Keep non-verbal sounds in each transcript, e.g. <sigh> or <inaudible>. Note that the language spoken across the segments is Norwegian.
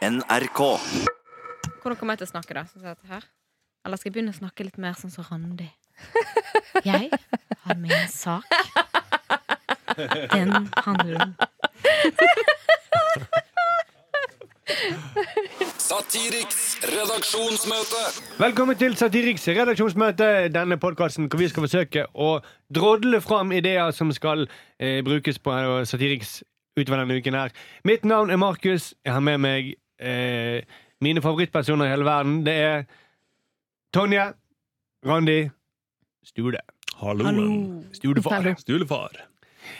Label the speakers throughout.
Speaker 1: NRK.
Speaker 2: Hvordan kommer jeg til å snakke, da? Sånn som dette her? Eller skal jeg begynne å snakke litt mer sånn som Randi? Jeg har min sak. Den handler om
Speaker 3: Satiriks redaksjonsmøte.
Speaker 4: Velkommen til Satiriks redaksjonsmøte. Denne podkasten hvor vi skal forsøke å drodle fram ideer som skal eh, brukes på eh, Satiriks utover denne uken her. Mitt navn er Markus. Jeg har med meg eh, mine favorittpersoner i hele verden. Det er Tonje, Randi, Stule.
Speaker 5: Halloen.
Speaker 4: Stulefar.
Speaker 5: Stulefar.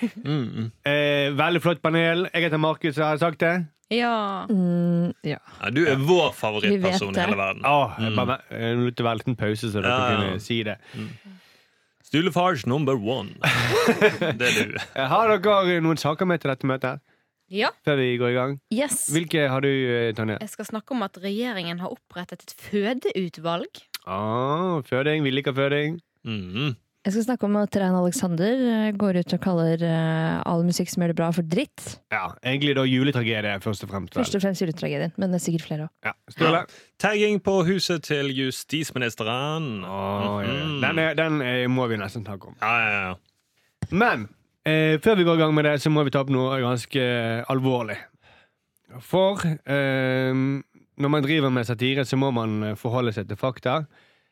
Speaker 4: Eh, veldig flott panel. Jeg heter Markus, jeg har sagt det.
Speaker 2: Ja.
Speaker 6: Mm, ja.
Speaker 5: Nei, du er vår
Speaker 6: Vi vet
Speaker 5: favorittperson i
Speaker 6: det.
Speaker 5: hele verden.
Speaker 4: Åh, jeg bare, jeg lot det være en liten pause, så dere
Speaker 5: Ja, ja.
Speaker 4: kunne si det.
Speaker 5: Stulefars number
Speaker 6: <laughs>
Speaker 5: one. Det er du.
Speaker 4: Eh, Har dere noen saker med til dette møtet? her,
Speaker 2: ja.
Speaker 4: Før vi går i gang?
Speaker 6: Yes.
Speaker 4: Hvilke har du, eh, Tonje?
Speaker 2: Jeg skal snakke om at regjeringen har opprettet et fødeutvalg.
Speaker 4: Ah, føding. Vi liker føding.
Speaker 5: Mhm.
Speaker 6: Jeg skal snakke om at Rein Alexander eh, går ut og kaller eh, all musikk som gjør det bra, for dritt.
Speaker 4: Ja, Egentlig da juletragedie, først og fremst. vel?
Speaker 6: Først og fremst juletragedien, men det er sikkert flere òg.
Speaker 4: Ja, Sturle.
Speaker 5: Tagging på huset til justisministeren.
Speaker 4: Å, ja, ja.
Speaker 5: Mhm.
Speaker 4: Den, er, den eh, må vi nesten snakke om.
Speaker 5: Ja, ja, ja.
Speaker 4: Men eh, før vi går i gang med det, så må vi ta opp noe ganske eh, alvorlig. For eh, når man driver med satire, så må man eh, forholde seg til fakta.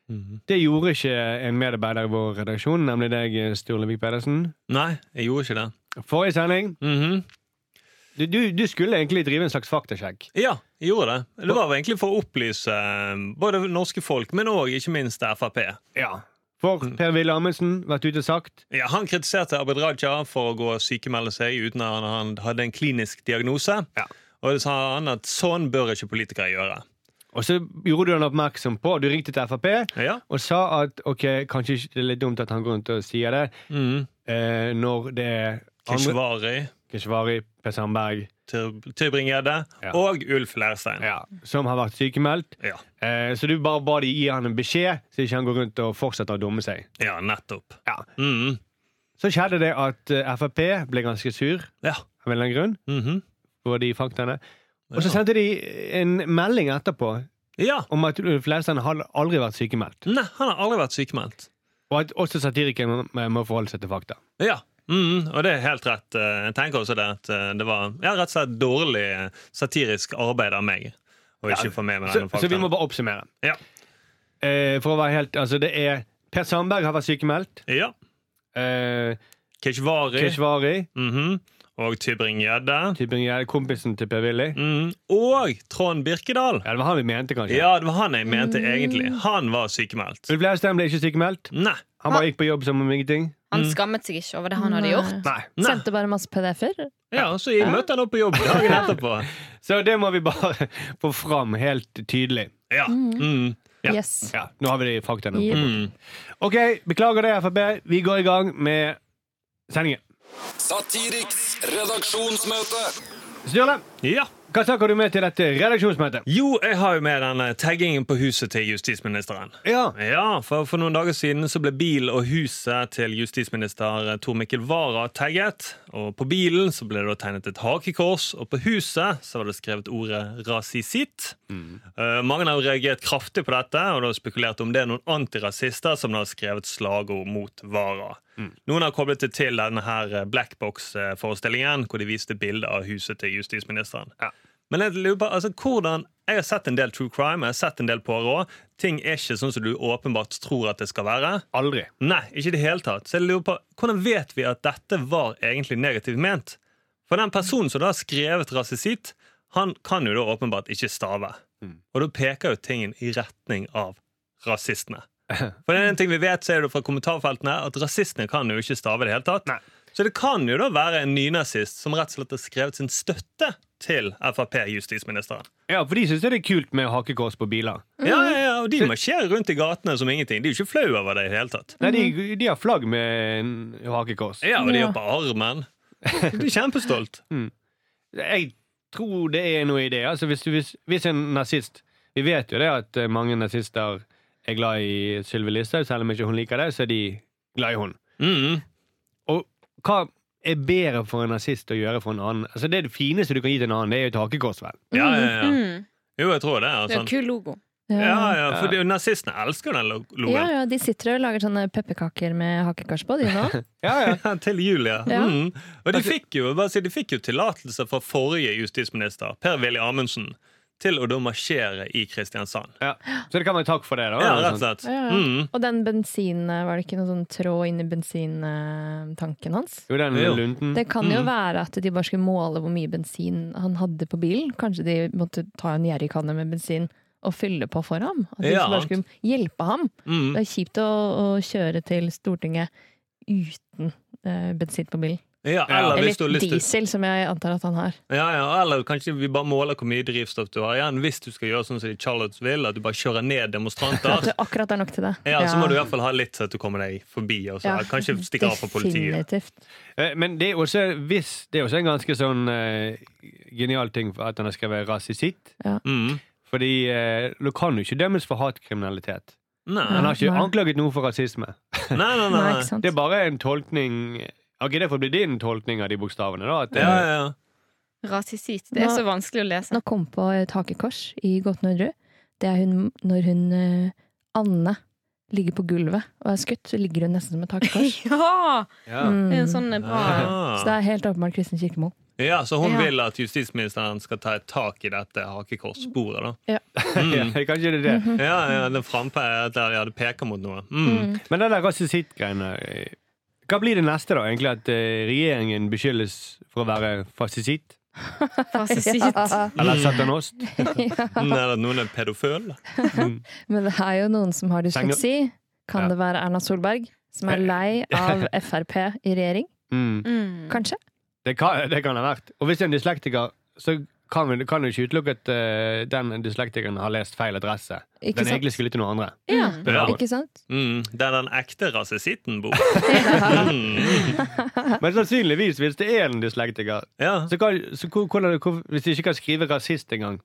Speaker 5: Mhm.
Speaker 4: Det gjorde ikke en medarbeider i vår redaksjon, nemlig deg, eh, Sturle Vik Pedersen.
Speaker 5: Nei, jeg gjorde ikke det.
Speaker 4: Forrige sending
Speaker 5: Mhm.
Speaker 4: du, du, du skulle egentlig drive en slags faktasjekk.
Speaker 5: Ja, jeg gjorde det. Det var egentlig for å opplyse eh, både norske folk, men òg ikke minst Frp.
Speaker 4: Ja. For
Speaker 5: Mm.
Speaker 4: Per Wille Amundsen vært ute og sagt
Speaker 5: Ja, Han kritiserte Abid Raja for å gå og sykemelde seg uten at han hadde en klinisk diagnose.
Speaker 4: Ja.
Speaker 5: Og det sa han at sånn bør ikke politikere gjøre.
Speaker 4: Og så gjorde du han oppmerksom på Du ringte til Frp
Speaker 5: Ja.
Speaker 4: og sa at ok, kanskje ikke det er litt dumt at han går rundt og sier det
Speaker 5: Mhm.
Speaker 4: eh, når det er andre
Speaker 5: Keshvari,
Speaker 4: Keshvari, Per Sandberg,
Speaker 5: Tyr- Tybring-Gjedde
Speaker 4: Ja.
Speaker 5: og Ulf Leirstein.
Speaker 4: ja, som har vært sykemeldt.
Speaker 5: Ja.
Speaker 4: Eh, så du bare ba de gi han en beskjed, så ikke han går rundt og fortsetter å dumme seg.
Speaker 5: Ja, nettopp.
Speaker 4: Ja.
Speaker 5: Mhm.
Speaker 4: Så skjedde det at eh, Frp ble ganske sur
Speaker 5: Ja.
Speaker 4: av en eller annen grunn
Speaker 5: Mhm.
Speaker 4: på de faktaene. Og så
Speaker 5: Ja.
Speaker 4: sendte de en melding etterpå
Speaker 5: ja.
Speaker 4: om at Ulf Leirstein hadde aldri vært sykemeldt.
Speaker 5: Nei, han har aldri vært sykemeldt.
Speaker 4: Og at også satirikere må- må forholde seg til fakta.
Speaker 5: Ja. Mhm. Og det er helt rett. Eh, Jeg tenker også det at eh, det var ja, rett og slett dårlig eh, satirisk arbeid av meg å ikke få med meg
Speaker 4: Så,
Speaker 5: denne
Speaker 4: så vi må
Speaker 5: faktaen.
Speaker 4: bare oppsummere.
Speaker 5: Ja.
Speaker 4: Eh, for å være helt, altså det er Per Sandberg har vært sykemeldt.
Speaker 5: Ja.
Speaker 4: Eh,
Speaker 5: Keshvari
Speaker 4: Keshvari,
Speaker 5: mhm. og Tybring-Gjedde.
Speaker 4: Tybring-Gjedde, kompisen til Per Willy.
Speaker 5: Mhm. Og Trond Birkedal.
Speaker 4: Ja, det var han vi mente, kanskje.
Speaker 5: Ja, det var han jeg mente egentlig. Han var sykemeldt.
Speaker 4: Ulf Leirstein ble ikke sykemeldt.
Speaker 5: Nei.
Speaker 4: Han bare gikk på jobb som om ingenting.
Speaker 2: Han skammet seg ikke over det han hadde gjort.
Speaker 4: Nei.
Speaker 5: Nei.
Speaker 6: Sendte bare masse PDF-er.
Speaker 5: Ja, så jeg møtte han opp på jobb dagen etterpå.
Speaker 4: Så det må vi bare <laughs> få fram helt tydelig.
Speaker 5: Ja. Mm. Ja.
Speaker 6: Yes.
Speaker 4: Ja, Nå har vi de faktaene.
Speaker 6: Yep.
Speaker 5: Mm.
Speaker 4: Ok, Beklager det, Frp. Vi går i gang med sendingen.
Speaker 3: Satiriks redaksjonsmøte.
Speaker 4: Sturle,
Speaker 5: ja.
Speaker 4: hva sak har du med til dette redaksjonsmøtet?
Speaker 5: Jo, jeg har jo med denne taggingen på huset til justisministeren.
Speaker 4: Ja,
Speaker 5: Ja, for, for noen dager siden så ble bil og huset til justisminister Tor Mikkel Wara tagget. Og på bilen så ble det da tegnet et hakekors, og på huset så var det skrevet ordet rasisitt. Eh, mange har reagert kraftig på dette, og da spekulert om det er noen antirasister som da har skrevet slagord mot Wara. Noen har koblet det til denne her blackbox-forestillingen, hvor de viste bilder av huset til justisministeren.
Speaker 4: Ja.
Speaker 5: Men jeg lurer på, altså, hvordan Jeg har sett en del true crime, jeg har sett en del Poirot. Ting er ikke sånn som du åpenbart tror at det skal være.
Speaker 4: Aldri.
Speaker 5: Nei, ikke i det hele tatt. Så jeg lurer på, hvordan vet vi at dette var egentlig negativt ment? For den personen som da har skrevet rasisitt, han kan jo da åpenbart ikke stave.
Speaker 4: Mm.
Speaker 5: Og da peker jo tingen i retning av
Speaker 4: <laughs>
Speaker 5: rasistene. For det er en ting vi vet, så er det fra kommentarfeltene at rasistene kan jo ikke stave i det hele tatt.
Speaker 4: Nei.
Speaker 5: Så det kan jo da være en nynazist som rett og slett har skrevet sin støtte til Frp-justisministeren.
Speaker 4: Ja, for de syns det er kult med hakekors på biler.
Speaker 5: Ja, ja, ja, og De marsjerer rundt i gatene som ingenting. De er jo ikke flau over det i det hele tatt.
Speaker 4: Nei, de, de har flagg med en hakekors.
Speaker 5: Ja, Og de
Speaker 6: Ja.
Speaker 5: har på armen. <laughs> De er kjempestolt.
Speaker 4: Jeg tror det er noe i det. Altså, hvis, hvis, hvis en nazist Vi vet jo det at eh, mange nazister er glad i Sylvi Listhaug, selv om ikke hun liker det, så er de glad i hun.
Speaker 5: Mhm.
Speaker 4: Og hva er bedre for en nazist å gjøre for en annen? Altså, det, er det fineste du kan gi til en annen, det er jo et hakekors, vel.
Speaker 5: Ja, ja, ja.
Speaker 2: Mm.
Speaker 5: Jo, jeg tror Mm-hmm. det. er
Speaker 2: Det er en
Speaker 5: sånn.
Speaker 2: kul logo.
Speaker 5: Ja, ja, for de- nazistene elsker jo den lo-
Speaker 6: ja,
Speaker 5: logoen.
Speaker 6: ja, de sitter og lager sånne pepperkaker med hakekors på, de nå.
Speaker 5: <laughs>
Speaker 4: Ja, ja.
Speaker 5: Ja, til Julia.
Speaker 6: Ja.
Speaker 5: Mm. Og de fikk jo bare si, de fikk jo tillatelse fra forrige justisminister, Per-Willy Amundsen, til å da marsjere i Kristiansand.
Speaker 4: <laughs> ja. Så det kan være takk for det, da.
Speaker 5: Ja,
Speaker 4: eller
Speaker 5: rett og
Speaker 4: sånn.
Speaker 5: slett.
Speaker 6: Ja, ja.
Speaker 5: Mm.
Speaker 6: Og den bensin, var det ikke noe sånn tråd inni bensintanken eh, hans?
Speaker 4: Jo, den
Speaker 5: Jo.
Speaker 4: lunden.
Speaker 6: Det kan jo
Speaker 5: Mm.
Speaker 6: være at de bare skulle måle hvor mye bensin han hadde på bilen. Kanskje de måtte ta en gjerrigkanne med bensin og fylle på for ham. At de
Speaker 5: Ja.
Speaker 6: bare skulle hjelpe ham.
Speaker 5: Mm.
Speaker 6: Det er kjipt å, å kjøre til Stortinget uten eh, bensin på bilen.
Speaker 5: Ja, eller hvis du har
Speaker 6: Eller
Speaker 5: lyst til
Speaker 6: diesel, som jeg antar at han har.
Speaker 5: Ja, ja, eller kanskje vi bare måler hvor mye drivstoff du har igjen. Hvis du skal gjøre sånn som de i Charlottesville, at du bare kjører ned <laughs>
Speaker 6: At
Speaker 5: demonstranter.
Speaker 6: det akkurat er nok til det.
Speaker 5: Ja, Så må du i hvert fall ha litt til at du kommer deg forbi. Og så.
Speaker 6: Ja.
Speaker 5: Kanskje stikke av for politiet.
Speaker 6: Definitivt.
Speaker 4: Eh, Men det er også, hvis, det er også en ganske sånn eh, genial ting for at han har skrevet rasisitt.
Speaker 5: Mm.
Speaker 4: Fordi eh, du kan jo ikke dømmes for hatkriminalitet.
Speaker 5: Nei.
Speaker 4: Han
Speaker 5: Nei,
Speaker 4: har ikke
Speaker 6: Ah. Nei.
Speaker 4: anklaget noe for rasisme.
Speaker 5: nei, nei.
Speaker 6: Nei,
Speaker 5: nei.
Speaker 6: ikke sant?
Speaker 4: Det er bare en tolkning Ok, det får bli din tolkning av de bokstavene, da. At, eh,
Speaker 5: Ja, ja, ja.
Speaker 2: Rasisit. Det er
Speaker 6: Nå-
Speaker 2: så vanskelig å lese.
Speaker 6: Nå kom på et hakekors i Gåten Rød. Det er hun når hun eh, Anne ligger på gulvet og er skutt, så ligger hun nesten som et
Speaker 5: <laughs>
Speaker 6: hakekors.
Speaker 2: Ja! Det
Speaker 4: ja.
Speaker 2: er
Speaker 6: Mm.
Speaker 2: en sånn eh, bra
Speaker 6: Så det er helt åpenbart Kristin Kirkemo.
Speaker 5: Ja, så hun
Speaker 2: Ja.
Speaker 5: vil at justisministeren skal ta et tak i dette hakekorssporet, da.
Speaker 4: <laughs> Ja,
Speaker 5: Mm.
Speaker 4: Kanskje det er det.
Speaker 5: Ja, ja, den frampe er der ja, det peker mot noe. <laughs> Mm.
Speaker 6: <laughs>
Speaker 4: Men den der rasisitt-greiene eh, Hva blir det neste, da? egentlig At eh, regjeringen beskyldes for å være fasisitt?
Speaker 6: <laughs>
Speaker 2: rasisit.
Speaker 4: Eller satanost?
Speaker 5: <laughs> Mm, Er det noen er pedofil?
Speaker 4: Mm.
Speaker 6: Men det er jo noen som har dysleksi. Kan
Speaker 4: Ja. Eh,
Speaker 6: det være Erna Solberg, som er
Speaker 4: <laughs>
Speaker 6: lei av Frp i regjering?
Speaker 4: Mm.
Speaker 2: <laughs> Mm.
Speaker 6: Kanskje?
Speaker 4: Det kan det kan ha vært. Og hvis det er en dyslektiker, så kan vi- kan du ikke utelukke at eh, den dyslektikeren har lest feil adresse.
Speaker 6: Ikke
Speaker 4: den
Speaker 6: sant?
Speaker 4: egentlig skulle til noen andre.
Speaker 6: Ja.
Speaker 5: Ja.
Speaker 6: Ikke sant?
Speaker 5: Mm. Det er den ekte rasisitten
Speaker 6: <laughs>
Speaker 5: Mm. bor.
Speaker 4: Men sannsynligvis, hvis det er en dyslektiker,
Speaker 5: Ja.
Speaker 4: så kan, så hvor- hvordan- hvor- hvis de ikke kan skrive rasist engang,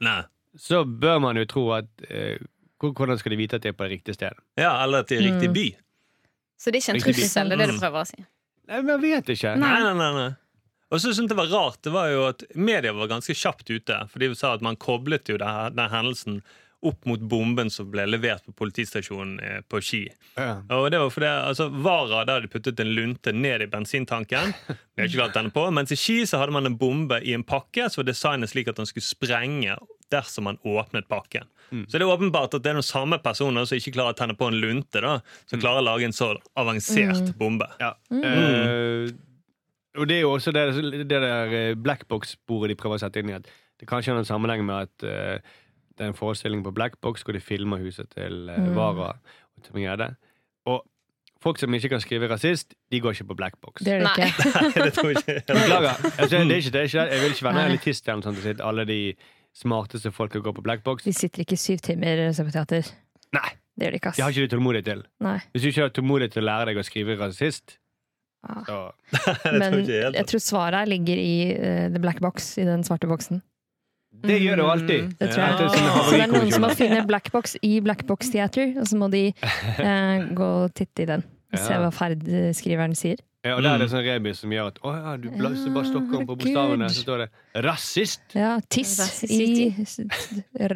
Speaker 5: Nei.
Speaker 4: så bør man jo tro at eh, hvor- Hvordan skal de vite at det er på det riktige stedet?
Speaker 5: Ja, eller at det er
Speaker 6: Mm.
Speaker 5: riktig by.
Speaker 2: Så det er ikke en
Speaker 4: Riktig bil.
Speaker 2: trussel, det er det du prøver å si.
Speaker 4: Nei, men Jeg vet ikke.
Speaker 5: Nei, nei, nei, nei. Og så synes jeg det var rart, det var jo at media var ganske kjapt ute. For de sa at man koblet jo det her- den hendelsen opp mot bomben som ble levert på politistasjonen eh, på Ski.
Speaker 4: Ja.
Speaker 5: Og det var fordi, altså, Vara der hadde puttet en lunte ned i bensintanken. Vi har ikke klart denne på, Mens i Ski så hadde man en bombe i en pakke som var designet slik at den skulle sprenge dersom man åpnet pakken. Så det er åpenbart at det er den samme personen som ikke klarer å tenne på en lunte, da, som klarer å lage en så avansert bombe. <laughs>
Speaker 4: Ja.
Speaker 6: Mm.
Speaker 4: Eh, og det er jo også det, det der blackbox-sporet de prøver å sette inn i. At det kanskje har en sammenheng med at eh, det er en forestilling på blackbox hvor de filmer huset til eh,
Speaker 6: Mm.
Speaker 4: Vara og Tommy Gjedde. Og folk som ikke kan skrive rasist, de går ikke på blackbox.
Speaker 6: Det gjør det
Speaker 2: Nei.
Speaker 6: ikke.
Speaker 5: Nei, det tror jeg ikke.
Speaker 4: Beklager.
Speaker 6: <laughs>
Speaker 4: Altså, det er ikke, det er ikke, jeg vil ikke være noen
Speaker 6: Nei.
Speaker 4: elitist eller noe sånt og si at alle de smarteste folka går på blackbox.
Speaker 6: De sitter ikke syv timer og ser på teater.
Speaker 4: Nei,
Speaker 6: Det gjør de ikke,
Speaker 4: de har
Speaker 6: ass.
Speaker 4: ikke det tålmodighet til.
Speaker 6: Nei.
Speaker 4: Hvis du ikke har tålmodighet til å lære deg å skrive rasist,
Speaker 6: Ah.
Speaker 4: så
Speaker 5: tror
Speaker 6: Men
Speaker 5: ikke helt.
Speaker 6: jeg tror svaret her ligger i eh, the black box, i den svarte boksen.
Speaker 4: Det gjør det jo alltid.
Speaker 6: Mm, Det tror jeg.
Speaker 4: Det er sånn
Speaker 6: Så det er noen som
Speaker 4: havarikommisjoner.
Speaker 6: må finne black box i black box theater, og så må
Speaker 4: <laughs>
Speaker 6: de eh, gå og titte i den. og Se
Speaker 4: Ja.
Speaker 6: hva ferdskriveren sier.
Speaker 4: Ja, og der er det sånn rebus som gjør at Å ja, du blasser bare stokken på
Speaker 6: Herregud.
Speaker 4: bokstavene. Så står det 'rasist'.
Speaker 6: Ja, tiss i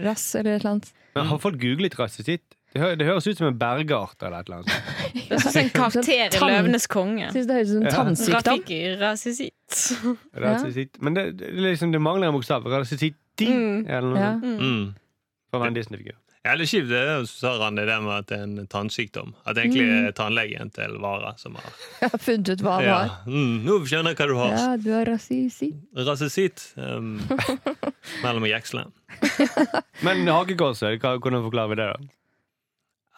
Speaker 6: rass eller et eller annet.
Speaker 4: Men har folk googlet rasisitt? Det, hø det høres ut som en bergeart eller et eller annet.
Speaker 2: Det er sånn en <laughs> karakter i
Speaker 6: Tann.
Speaker 2: Løvenes konge.
Speaker 6: Syns det høres ut som
Speaker 4: Ja.
Speaker 6: tannsykdom.
Speaker 2: Rafiki, rasisit.
Speaker 4: Rasisitt. Men det, det, er liksom, det mangler en bokstav. Rasisitti
Speaker 2: Mm.
Speaker 4: eller noe
Speaker 6: Ja.
Speaker 4: sånt.
Speaker 5: Mm.
Speaker 4: For å være en Disney-figur.
Speaker 5: Ja, det er kjipt, det er jo, sa Randi, det med at det er en tannsykdom. At det egentlig er tannlegen til Vara som har
Speaker 6: Jeg har funnet ut hva det
Speaker 5: ja.
Speaker 6: var.
Speaker 5: mm, Nå skjønner jeg hva du har.
Speaker 6: Ja, du har rasisi.
Speaker 5: Rasisitt um, mellom jekslene.
Speaker 4: Men hakekorset, hva- hvordan forklarer vi det, da?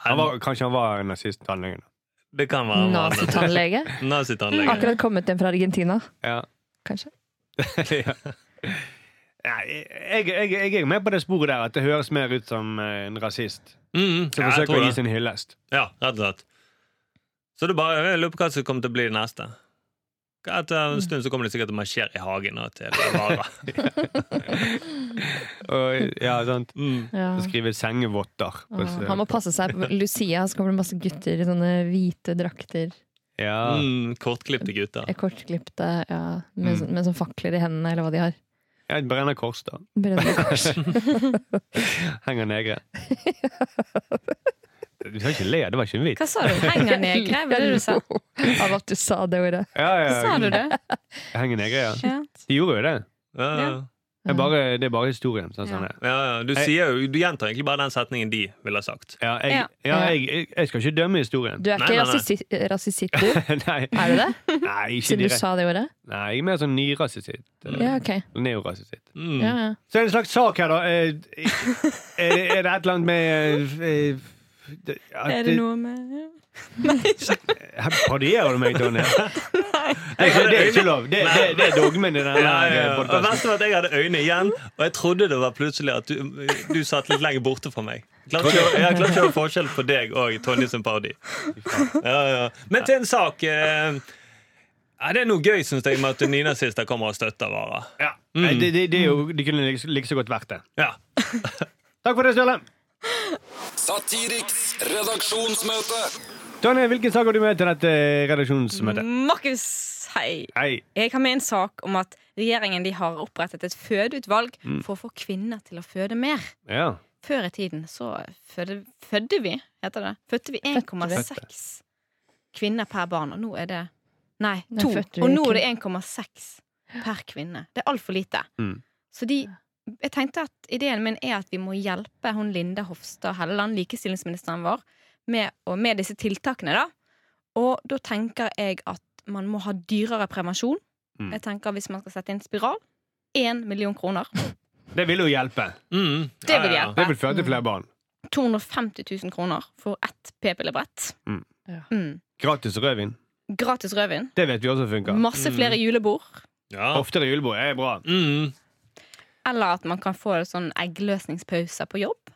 Speaker 4: Han var, kanskje han var nazist, tannlegen.
Speaker 5: Det kan være han var nazi-
Speaker 6: Nazitannlege.
Speaker 5: <laughs> nazitannlege.
Speaker 6: Akkurat kommet hjem fra Argentina,
Speaker 4: Ja.
Speaker 6: kanskje.
Speaker 4: Ja. Nei, jeg, jeg, jeg er med på det sporet der, at det høres mer ut som eh, en rasist
Speaker 5: <laughs> Mm,
Speaker 4: som
Speaker 5: ja, jeg
Speaker 4: forsøker
Speaker 5: tror
Speaker 4: å gi
Speaker 5: det.
Speaker 4: sin hyllest.
Speaker 5: Ja, rett og slett. Så det er bare, jeg lurer på hva som kommer til å bli det neste. Etter en stund så kommer de sikkert til å marsjere i hagen da, til Vara.
Speaker 4: Og, ja, sant.
Speaker 5: Mm.
Speaker 6: Ja.
Speaker 4: Skrive sengevotter. på-
Speaker 6: Han må passe seg. på Lucia så kommer det masse gutter i sånne hvite drakter.
Speaker 4: Ja.
Speaker 5: Mm, kortklipte gutter. Mm.
Speaker 6: Kortklipte, ja, med, sånn- med sånn fakler i hendene, eller hva de har.
Speaker 4: Et brennende kors, da.
Speaker 5: <laughs>
Speaker 6: Brennende kors.
Speaker 4: Henger negre. Du skal ikke le, det var ikke en vits.
Speaker 2: Hva sa du? Henger negre? Hva var det du sa?
Speaker 6: Av at du sa det ordet.
Speaker 4: Ja,
Speaker 2: Hva sa du
Speaker 4: ja,
Speaker 2: det?
Speaker 4: Henger negre, ja.
Speaker 2: Ja.
Speaker 4: De gjorde jo det.
Speaker 5: Ja, ja.
Speaker 4: Det er bare, det er bare historien. Sånn, sånn. det er.
Speaker 5: ja, ja. Du,
Speaker 4: Jeg-
Speaker 5: sier jo, du gjentar egentlig bare den setningen de ville ha sagt.
Speaker 4: Ja, jeg, ja, jeg, jeg, jeg skal ikke dømme historien. <laughs>
Speaker 6: Du er
Speaker 5: Nei,
Speaker 6: ikke
Speaker 5: nei, nei.
Speaker 6: rasistisk, rasistisk du?
Speaker 4: Nei,
Speaker 5: <laughs>
Speaker 6: Er du det?
Speaker 4: nei, ikke
Speaker 6: Siden du
Speaker 4: direkte.
Speaker 6: sa det ordet?
Speaker 4: Nei, jeg er mer sånn nyrasist.
Speaker 6: Ja, ok.
Speaker 4: Neorasist.
Speaker 5: Mm.
Speaker 6: Ja, ja.
Speaker 4: Så er det en slags sak her, da. Eh, Er det er det et eller annet med eh, det- at
Speaker 2: Er det noe med
Speaker 4: Her Parodierer du meg,
Speaker 2: <laughs>
Speaker 4: Tonje? Nei,
Speaker 5: Jeg hadde
Speaker 4: det er ikke
Speaker 5: øyne-
Speaker 4: lov. Det, det, det er dogmen i denne
Speaker 5: Ja, ja, ja. Og
Speaker 4: podkasten.
Speaker 5: verst var at jeg hadde øynene igjen, og jeg trodde det var plutselig at du, du satt litt lenger borte fra meg. Klarte ikke å- Jeg klarte ikke å ha forskjell på deg og Tonje sin parodi. Ja, ja. Men til en sak. eh, Ja, det er noe gøy, syns jeg, med at nynazister kommer og støtter varer.
Speaker 4: Ja. Nei, Det, det, det, er jo, det kunne like like så godt vært det.
Speaker 5: Ja.
Speaker 4: Takk for det, Sturle.
Speaker 3: Satiriks redaksjonsmøte.
Speaker 4: Tonje, hvilken sak har du med til dette eh,
Speaker 2: Mm.
Speaker 4: redaksjonsmøtet?
Speaker 2: Markus, hei.
Speaker 4: Hei.
Speaker 2: Jeg har med en sak om at regjeringen de har opprettet et fødeutvalg for å få kvinner til å føde mer.
Speaker 4: Ja.
Speaker 2: Før i tiden så fødde, fødde vi, heter det. Fødte vi 1,6 kvinner per barn, og nå er det Nei,
Speaker 6: Nei,
Speaker 2: to.
Speaker 6: fødte vi
Speaker 2: Og nå
Speaker 6: ikke.
Speaker 2: er det 1,6 per kvinne. Det er altfor lite.
Speaker 4: Mm.
Speaker 2: Så de Jeg tenkte at ideen min er at vi må hjelpe hun Linda Hofstad Helleland, likestillingsministeren vår, med, og med disse tiltakene, da. Og da tenker jeg at man må ha dyrere prevensjon.
Speaker 4: Mm.
Speaker 2: Jeg tenker Hvis man skal sette inn spiral én million kroner.
Speaker 4: Det vil jo hjelpe.
Speaker 5: Mm.
Speaker 2: Det vil
Speaker 5: Ja, ja.
Speaker 4: Det
Speaker 2: hjelpe.
Speaker 4: vil føre til flere barn.
Speaker 2: 250 000 kroner for ett p-pillebrett.
Speaker 4: Mm.
Speaker 6: Ja.
Speaker 2: Mm.
Speaker 4: Gratis rødvin.
Speaker 2: Gratis rødvin.
Speaker 4: Det vet vi også funker.
Speaker 2: Masse flere julebord.
Speaker 5: Ja.
Speaker 4: Oftere julebord er bra.
Speaker 5: Mm.
Speaker 2: Eller at man kan få sånn eggløsningspauser på jobb.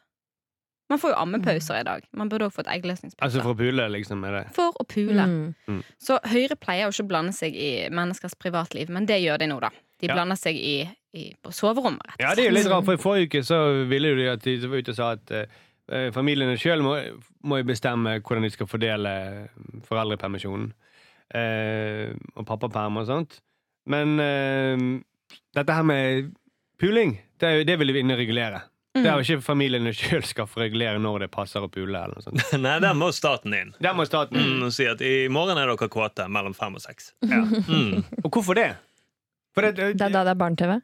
Speaker 2: Man får jo ammepauser i dag. Man burde òg fått
Speaker 4: Altså
Speaker 2: eggløsningspauser.
Speaker 4: for å pule, liksom. Er det.
Speaker 2: For å pule.
Speaker 6: Mm.
Speaker 2: Så Høyre pleier jo ikke å blande seg i menneskers privatliv, men det gjør de nå, da. De
Speaker 4: Ja.
Speaker 2: blander seg i, i, på soverommet, rett
Speaker 4: Ja, det er jo litt rart, for i forrige uke så ville jo de at de var ute og sa at eh, familiene sjøl må, må jo bestemme hvordan de skal fordele eh, foreldrepermisjonen. Eh, og pappaperm og sånt. Men eh, dette her med puling, det, er jo- det vil de inne regulere. Det
Speaker 6: Mm.
Speaker 4: er jo ikke familiene sjøl skal få regulere når det passer å pule. eller noe sånt.
Speaker 5: Nei, der må staten inn
Speaker 4: Der må staten
Speaker 5: Mm, og si at i morgen er dere kåte mellom fem og seks.
Speaker 4: ja.
Speaker 5: Mm.
Speaker 4: Og hvorfor det? For det,
Speaker 6: Det er da det er barne-TV?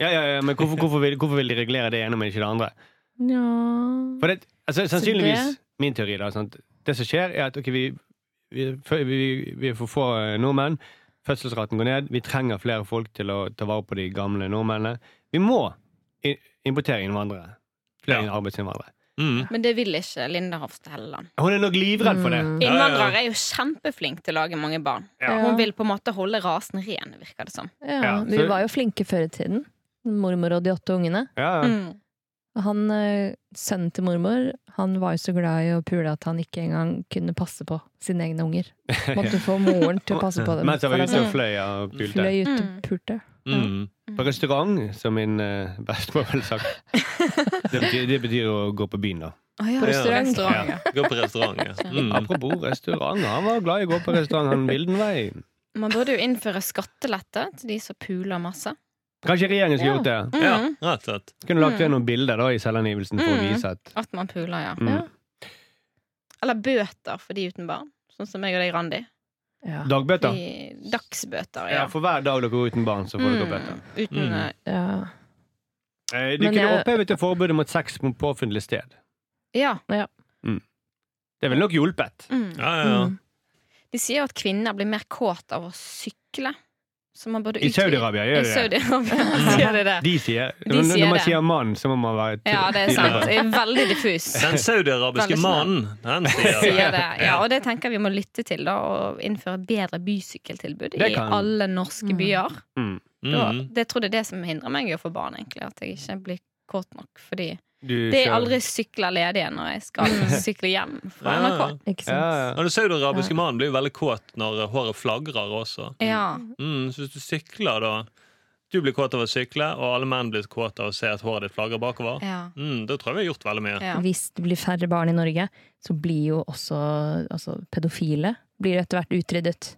Speaker 4: ja, ja, ja, men hvorfor, hvorfor, vil, hvorfor vil de regulere det ene, men ikke det andre?
Speaker 6: Ja
Speaker 4: For det, altså, sannsynligvis
Speaker 6: det-
Speaker 4: Min teori, da. Sant? Det som skjer, er at ok, vi, vi, fø- vi, vi er for få eh, nordmenn. Fødselsraten går ned. Vi trenger flere folk til å ta vare på de gamle nordmennene. Vi må i- importere innvandrere. Flere
Speaker 5: Ja.
Speaker 4: arbeidsinnvandrere.
Speaker 5: Mm.
Speaker 2: Men det vil ikke Linda Hofstad Helleland.
Speaker 4: Hun er nok livredd for det.
Speaker 6: Mm.
Speaker 5: ja.
Speaker 2: Innvandrere er jo kjempeflinke til å lage mange barn.
Speaker 4: Ja.
Speaker 2: Hun vil på en måte holde rasen ren, virker det som.
Speaker 6: Ja,
Speaker 4: Ja,
Speaker 6: vi
Speaker 4: så-
Speaker 6: var jo flinke før i tiden. Mormor og de åtte ungene.
Speaker 4: Ja, ja.
Speaker 2: Mm.
Speaker 6: Og Han, eh, sønnen til mormor han var jo så glad i å pule at han ikke engang kunne passe på sine
Speaker 4: <laughs>
Speaker 6: egne unger. Måtte få moren til å passe på dem.
Speaker 4: Mens jeg
Speaker 6: for
Speaker 4: var
Speaker 6: han
Speaker 4: ute og fløy og pulte.
Speaker 6: fløy ut og
Speaker 2: Mm.
Speaker 6: pulte.
Speaker 5: Mm.
Speaker 4: På restaurant, som min eh, bestemor ville
Speaker 6: <laughs>
Speaker 4: sagt. Det betyr, det betyr å gå på byen, da.
Speaker 2: Å ja,
Speaker 5: På
Speaker 6: restaurant.
Speaker 2: restaurant. ja.
Speaker 5: Gå på restaurant. Ja. Mm.
Speaker 4: Apropos restaurant, han var glad i å gå på restaurant, han Vildenvei.
Speaker 2: Man burde jo innføre skattelette til de som puler masse.
Speaker 4: Kanskje regjeringen skulle
Speaker 6: Ja.
Speaker 4: gjort det?
Speaker 2: Mm.
Speaker 5: ja, rett og slett.
Speaker 4: Kunne lagt ved noen bilder da i selvangivelsen for å
Speaker 2: Mm.
Speaker 4: vise at
Speaker 2: At man puler, ja.
Speaker 4: mm.
Speaker 6: Ja.
Speaker 2: Eller bøter for de uten barn. Sånn som meg og deg, Randi.
Speaker 6: Ja.
Speaker 4: Dagbøter.
Speaker 2: De dagsbøter, ja.
Speaker 4: Ja, for hver dag dere går uten barn, så får dere bøter.
Speaker 2: Mm, uten,
Speaker 5: Mm.
Speaker 2: eh,
Speaker 6: Ja.
Speaker 4: Eh, De kunne
Speaker 6: Men jeg-
Speaker 4: opphevet det forbudet mot sex på på offentlig sted.
Speaker 2: Ja.
Speaker 4: Det ville nok hjulpet.
Speaker 2: Mm.
Speaker 5: Ja, ja, ja.
Speaker 6: Mm.
Speaker 2: De sier jo at kvinner blir mer kåt av å sykle. Så man burde
Speaker 4: I
Speaker 2: utvide-
Speaker 4: Saudi-Arabia
Speaker 2: I
Speaker 4: gjør de det. Mm.
Speaker 2: Saudi-Arabia <laughs> sier de det.
Speaker 4: De sier,
Speaker 2: De
Speaker 4: når-
Speaker 2: sier
Speaker 4: Når man
Speaker 2: det.
Speaker 4: sier mann, så må man være ty-
Speaker 2: Ja, det er
Speaker 4: tydelig på
Speaker 2: sant. Det er veldig diffus.
Speaker 4: <laughs>
Speaker 5: Den saudiarabiske
Speaker 2: Veldig snart.
Speaker 5: mannen, den
Speaker 2: <laughs> Sier
Speaker 5: sier det.
Speaker 2: det. Ja, og det tenker jeg vi må lytte til, da, og innføre bedre bysykkeltilbud i
Speaker 4: Det kan-
Speaker 2: alle norske
Speaker 6: Mm.
Speaker 2: byer.
Speaker 4: Mm.
Speaker 2: Da,
Speaker 5: Mm.
Speaker 2: det tror jeg det er det som hindrer meg i å få barn, egentlig. At jeg ikke blir kåt nok. Fordi
Speaker 4: <laughs> Du
Speaker 2: det er
Speaker 4: kjører-
Speaker 2: aldri sykler ledig når jeg skal <laughs> sykle hjem fra
Speaker 5: Mm. Ja, ja.
Speaker 2: NRK.
Speaker 6: Ikke sant?
Speaker 4: Ja, ja.
Speaker 5: Og Den saudiarabiske mannen blir jo veldig kåt når håret flagrer også.
Speaker 2: Ja.
Speaker 5: Mm, så hvis du sykler, da Du blir kåt av å sykle, og alle menn blir kåt av å se at håret ditt flagrer bakover.
Speaker 2: ja,
Speaker 5: Mm, da tror jeg vi har gjort veldig mye.
Speaker 2: ja.
Speaker 6: Hvis det blir færre barn i Norge, så blir jo også altså, pedofile blir etter hvert utryddet.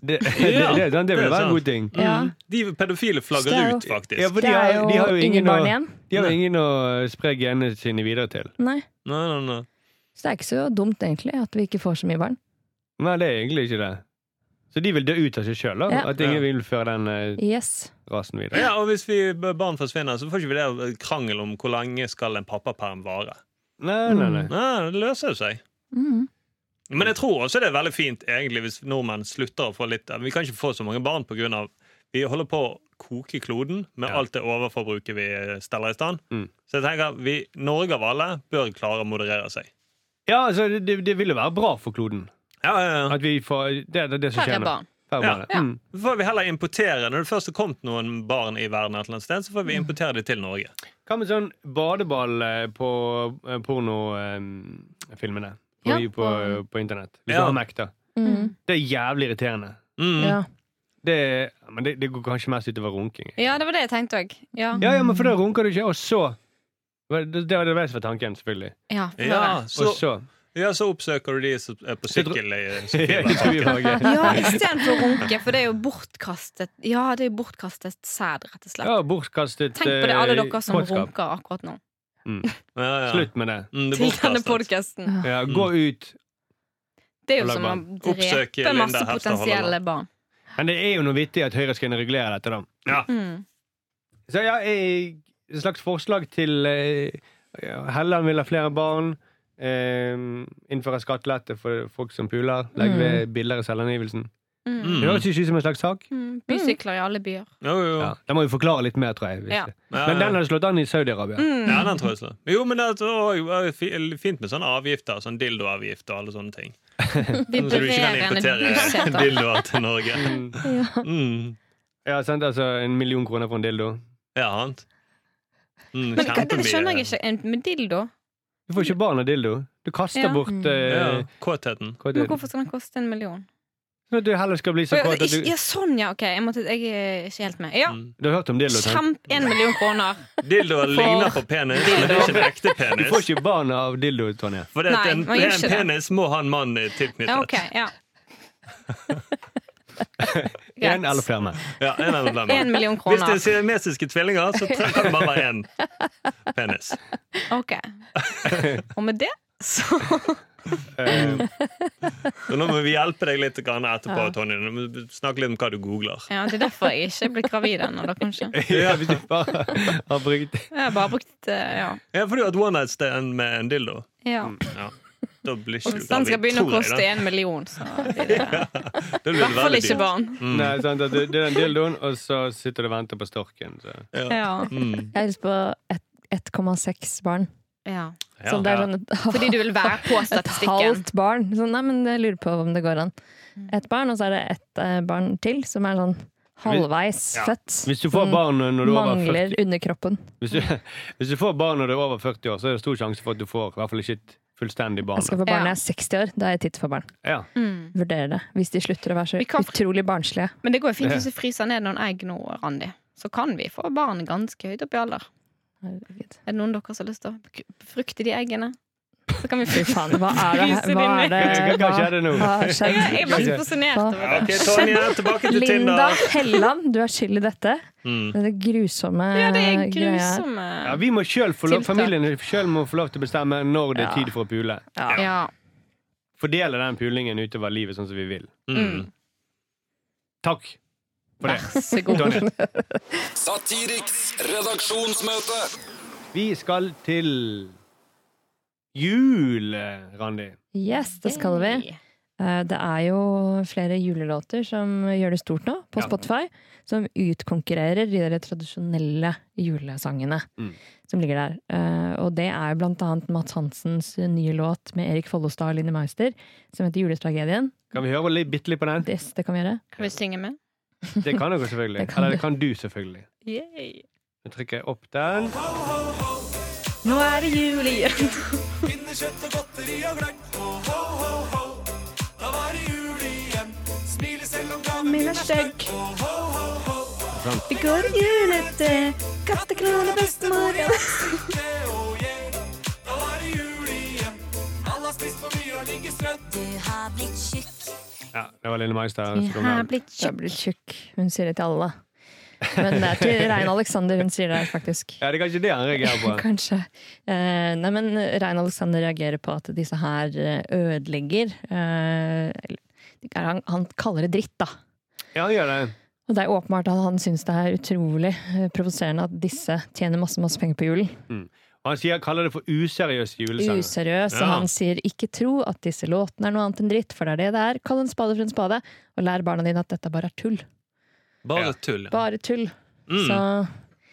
Speaker 4: Det, <laughs> det, det,
Speaker 5: Ja,
Speaker 4: det, det
Speaker 5: det
Speaker 4: vil
Speaker 5: er
Speaker 4: være en
Speaker 5: sant.
Speaker 4: god ting.
Speaker 6: Ja.
Speaker 5: Mm. De pedofile flagger
Speaker 6: Det er
Speaker 5: ut,
Speaker 6: jo-
Speaker 5: faktisk.
Speaker 4: Ja, for de
Speaker 6: Det er
Speaker 4: har, de har
Speaker 6: jo
Speaker 4: jo
Speaker 6: ingen
Speaker 4: ingen å,
Speaker 6: barn igjen.
Speaker 4: de har jo
Speaker 5: Nei.
Speaker 4: ingen å spre genene sine videre til.
Speaker 6: Nei.
Speaker 5: Nei, nei, nei.
Speaker 6: Så det er ikke så dumt, egentlig, at vi ikke får så mye barn.
Speaker 4: Nei, det er egentlig ikke det. Så de vil dø ut av seg sjøl, da.
Speaker 6: Ja.
Speaker 4: At ingen vil føre den eh,
Speaker 6: Yes.
Speaker 4: rasen videre.
Speaker 5: Ja, og hvis vi barn forsvinner, så får ikke vi det krangel om hvor lenge skal en pappaperm vare.
Speaker 4: Nei, nei, nei.
Speaker 5: Nei, det løser jo seg.
Speaker 6: Mm.
Speaker 5: Men jeg tror også det er veldig fint egentlig hvis nordmenn slutter å få litt Vi kan ikke få så mange barn pga. Vi holder på å koke kloden med
Speaker 4: Ja.
Speaker 5: alt det overforbruket vi eh, steller i stand.
Speaker 4: Mm.
Speaker 5: Så jeg tenker vi, Norge av alle bør klare å moderere seg.
Speaker 4: Ja, altså, det, det- det vil jo være bra for kloden.
Speaker 5: Ja, ja, ja.
Speaker 4: At vi får Det er det, det som
Speaker 2: Færre
Speaker 4: skjer nå.
Speaker 2: barn.
Speaker 4: Færre
Speaker 5: Ja.
Speaker 4: barn,
Speaker 2: Ja.
Speaker 4: Mm.
Speaker 5: Så får vi heller importere Når det først har kommet noen barn i verden, et eller annet sted, så får vi
Speaker 2: Mm.
Speaker 5: importere de til Norge.
Speaker 4: Hva med sånn badeball eh, på pornofilmene? På,
Speaker 6: Ja.
Speaker 4: de på,
Speaker 2: Mm.
Speaker 4: på internett. Hvis
Speaker 5: Ja.
Speaker 4: du har Mac, da.
Speaker 6: Mm.
Speaker 4: Det er jævlig irriterende.
Speaker 5: Mm.
Speaker 6: Ja.
Speaker 4: Det, er- men det, det går kanskje mest utover runking.
Speaker 2: Ja, det var det jeg tenkte òg. Ja.
Speaker 4: Ja, ja, men for da runker du ikke, og så Det det var det som var tanken, selvfølgelig.
Speaker 2: Ja, for
Speaker 5: Ja,
Speaker 2: det.
Speaker 4: Og
Speaker 5: Ah, så,
Speaker 4: så
Speaker 5: <laughs> ja, så oppsøker du de som er på
Speaker 4: Jeg tror- <laughs>
Speaker 5: sykkel. i-
Speaker 4: Ja, i Tuihagen.
Speaker 2: ja istedenfor å runke, for det er jo bortkastet Ja, det er jo bortkastet sæd, rett og slett.
Speaker 4: Ja, bortkastet
Speaker 2: Tenk på det, alle
Speaker 4: eh,
Speaker 2: dere som
Speaker 4: kåtskap.
Speaker 2: runker akkurat nå.
Speaker 5: Ja, ja.
Speaker 4: Slutt med det.
Speaker 5: Mm, det
Speaker 2: Til
Speaker 5: er
Speaker 2: denne
Speaker 5: bortkastet.
Speaker 2: podkasten.
Speaker 4: Ja,
Speaker 5: Mm.
Speaker 4: gå ut.
Speaker 2: Det er jo
Speaker 4: Og lag
Speaker 2: som å
Speaker 4: barn.
Speaker 5: Oppsøke
Speaker 2: drepe
Speaker 5: Linda
Speaker 2: masse
Speaker 5: Hestad
Speaker 2: potensielle
Speaker 5: Holland.
Speaker 2: barn.
Speaker 4: Men det er jo noe vittig at Høyre skal inn og regulere dette, da.
Speaker 2: Mm.
Speaker 4: Så ja, jeg, et slags forslag til eh, ja, Helland vil ha flere barn. Eh, innføre skattelette for folk som puler. Legge
Speaker 6: Mm.
Speaker 4: ved billigere selvangivelsen.
Speaker 2: Mm.
Speaker 5: Mm.
Speaker 4: Det høres ikke ut som en slags sak.
Speaker 2: Mm. Bysykler i alle byer.
Speaker 5: Jo, jo, jo.
Speaker 4: Ja, Den må vi forklare litt mer, tror jeg. Hvis.
Speaker 2: Ja.
Speaker 5: Ja,
Speaker 4: Men
Speaker 5: ja.
Speaker 4: den hadde slått an i Saudi-Arabia.
Speaker 2: Mm.
Speaker 5: Ja, den tror jeg slår. Jo, men det er også- er jo fi- fint med sånne avgifter, sånn dildoavgift og alle sånne ting. Sånn Så du ikke kan
Speaker 2: Vibrerende <laughs>
Speaker 5: <laughs> importere
Speaker 2: busseter.
Speaker 5: dildoer til Norge.
Speaker 6: Ja.
Speaker 5: Mm.
Speaker 4: Mm. Ja, sant? Altså, en million kroner for en dildo.
Speaker 5: Ja, sant? Mm,
Speaker 2: Men hva- det
Speaker 5: kjempemye.
Speaker 2: skjønner jeg ikke. En- Med dildo?
Speaker 4: Du får ikke barn av dildo. Du kaster
Speaker 2: Ja.
Speaker 4: bort eh,
Speaker 5: Ja, kåtheten.
Speaker 4: hva
Speaker 2: Men
Speaker 4: det,
Speaker 2: hvorfor skal den koste en million?
Speaker 4: Sånn at du heller skal bli så
Speaker 2: Å, ja,
Speaker 4: kåt at
Speaker 2: ikke-
Speaker 4: du
Speaker 2: ja, sånn, ja. Ok, jeg, måtte, jeg er ikke helt med. Ja,
Speaker 5: Mm.
Speaker 4: Du har hørt om dildo? sant?
Speaker 2: kjemp en million kroner.
Speaker 5: Dildoer ligner på penis, men det er ikke en ekte
Speaker 4: Du får
Speaker 5: penis.
Speaker 4: ikke barn av dildo, Tonje.
Speaker 5: For det at
Speaker 2: Nei,
Speaker 5: en,
Speaker 2: man gjør
Speaker 5: en
Speaker 2: ikke det.
Speaker 5: penis må ha en mann eh,
Speaker 2: Ja, ok,
Speaker 5: tilknyttet.
Speaker 2: ja.
Speaker 4: Én eller flere menn.
Speaker 5: Ja, en
Speaker 2: <laughs>
Speaker 5: eller annen
Speaker 2: En
Speaker 5: mann.
Speaker 2: million
Speaker 5: Hvis det er
Speaker 2: kroner.
Speaker 5: siamesiske tvillinger, så trenger det bare være én penis. <laughs>
Speaker 2: Ok. Og med det så
Speaker 4: Eh,
Speaker 5: Så nå må vi hjelpe deg litt grann etterpå,
Speaker 6: Ja.
Speaker 5: Tonje. Nå må du Snakke litt om hva du googler.
Speaker 2: <laughs> Ja, det er derfor jeg ikke ble gravid ennå, da, kanskje.
Speaker 4: ja, hvis du bare har brukt
Speaker 2: Jeg har bare brukt eh, Ja.
Speaker 5: Ja, for du har et one night stand med en dildo.
Speaker 2: ja.
Speaker 5: Ja. Da blir ikke
Speaker 2: Og
Speaker 5: du
Speaker 2: hvis den skal
Speaker 5: Mm, gravid,
Speaker 2: begynne å
Speaker 5: tror jeg,
Speaker 2: koste
Speaker 5: da.
Speaker 2: en million, så blir det i
Speaker 5: Da blir det
Speaker 2: hvert fall
Speaker 5: veldig
Speaker 2: ikke
Speaker 5: dyrt.
Speaker 2: barn.
Speaker 5: Mm.
Speaker 4: Nei, sant, at det, det er den dildoen, og så sitter du og venter på storken. Så.
Speaker 5: Ja.
Speaker 2: Ja.
Speaker 5: Mm.
Speaker 6: Jeg har lyst på et- 1,6 barn.
Speaker 2: ja.
Speaker 5: Ja.
Speaker 6: Sånn, det er sånn et,
Speaker 2: Fordi du vil være på
Speaker 6: et
Speaker 2: statistikken.
Speaker 6: halvt barn. Sånn, nei, men jeg lurer på om det går an.
Speaker 2: Mm.
Speaker 6: Et barn, og så er det ett eh, barn til som er sånn halvveis
Speaker 5: Ja.
Speaker 6: født.
Speaker 4: Hvis du får
Speaker 6: Som
Speaker 4: barn når du er over 40
Speaker 6: Mangler underkroppen.
Speaker 4: hvis du, <laughs> hvis du får barn når du er over 40 år, så er det stor sjanse for at du får i hvert fall ikke et fullstendig barn.
Speaker 6: Jeg skal
Speaker 4: da.
Speaker 6: få barn
Speaker 2: Ja.
Speaker 6: når jeg er 60 år. Da er jeg titt for barn.
Speaker 4: Ja.
Speaker 2: Mm.
Speaker 6: Vurderer det. Hvis de slutter å være så
Speaker 2: Vi kan-
Speaker 6: utrolig barnslige.
Speaker 2: Men det går jo fint
Speaker 4: Ja.
Speaker 2: hvis du fryser ned noen egg nå, Randi. Så kan vi få barn ganske høyt opp i alder.
Speaker 6: Herregud.
Speaker 2: Er det noen dere som har lyst til å befrukte de eggene? Så kan vi
Speaker 6: Fy faen, hva er det her?
Speaker 2: Fryser
Speaker 6: Hva
Speaker 2: de
Speaker 6: er det
Speaker 4: ned? Hva skjedde nå?
Speaker 6: Hva har
Speaker 2: Jeg er- jeg er
Speaker 6: skjedd?
Speaker 2: bare så fascinert over
Speaker 5: Ja, ok,
Speaker 2: det.
Speaker 5: Tonje, tilbake til
Speaker 6: Linda
Speaker 5: Tinder.
Speaker 6: Helland, du er skyld i dette.
Speaker 5: Mm.
Speaker 6: Det er det grusomme
Speaker 2: Ja, det er
Speaker 6: greia.
Speaker 2: grusomme
Speaker 4: Ja, vi må selv få lov,
Speaker 2: Tiltak.
Speaker 4: familien selv må få lov til å bestemme når det er tid for å pule.
Speaker 2: Ja.
Speaker 4: Fordele den pulingen utover livet sånn som vi vil.
Speaker 5: Mm.
Speaker 2: Mm.
Speaker 4: Takk for det.
Speaker 2: Vær så
Speaker 4: <laughs>
Speaker 2: god.
Speaker 4: Tonje.
Speaker 3: Satiriks redaksjonsmøte.
Speaker 4: Vi skal til jul, eh, Randi.
Speaker 6: Yes, det skal vi. Eh, Det er jo flere julelåter som gjør det stort nå, på
Speaker 4: Ja.
Speaker 6: Spotify. Som utkonkurrerer de der tradisjonelle julesangene
Speaker 4: Mm.
Speaker 6: som ligger der. Eh, Og det er blant annet Mads Hansens nye låt med Erik Follestad og Linni Meister, som heter 'Juletragedien'.
Speaker 4: Kan vi høre litt- bitte litt på den?
Speaker 6: Yes, det kan vi gjøre.
Speaker 2: Kan vi synge med?
Speaker 4: Det kan dere selvfølgelig.
Speaker 6: Det kan
Speaker 4: Eller
Speaker 6: du.
Speaker 4: det kan du selvfølgelig. Nå trykker jeg opp den.
Speaker 2: Nå er det jul igjen.
Speaker 1: Pinnekjøtt og godteri og gløgg. Ho, ho, ho, ho. Da var det jul igjen. Smile selv om gaven min er stygg. Ho, ho, ho, ho.
Speaker 2: Vi går i julete, kattekrone bestemor.
Speaker 1: Det, oh, yeah. Da var det jul igjen. Alle har spist for mye og ligger strødd.
Speaker 7: Du har blitt tjukk.
Speaker 4: Ja, det var Lille Meister.
Speaker 6: Jeg
Speaker 4: som kom
Speaker 2: Her
Speaker 4: der.
Speaker 2: er blitt
Speaker 6: Jeg
Speaker 2: kjøpt.
Speaker 6: blir tjukk. Hun sier det til alle. Men det er til Rein Alexander hun sier det, faktisk.
Speaker 4: Ja, det er kanskje det han reagerer på.
Speaker 2: <laughs>
Speaker 6: <laughs> Kanskje. Eh, nei, men Rein Alexander reagerer på at disse her eh, ødelegger eh, eller, det er han, han kaller det dritt, da.
Speaker 4: Ja, han gjør det.
Speaker 6: Og det er åpenbart at han syns det er utrolig eh, provoserende at disse tjener masse masse penger på julen.
Speaker 4: Og han sier, kaller det for useriøse julesanger.
Speaker 6: Useriøs. Og
Speaker 5: Ja.
Speaker 6: han sier 'ikke tro at disse låtene er noe annet enn dritt', for det er det det er. Kall en spade for en spade, og lær barna dine at dette bare er tull.
Speaker 5: Bare tull. ja.
Speaker 6: Bare tull.
Speaker 5: Mm.
Speaker 6: Så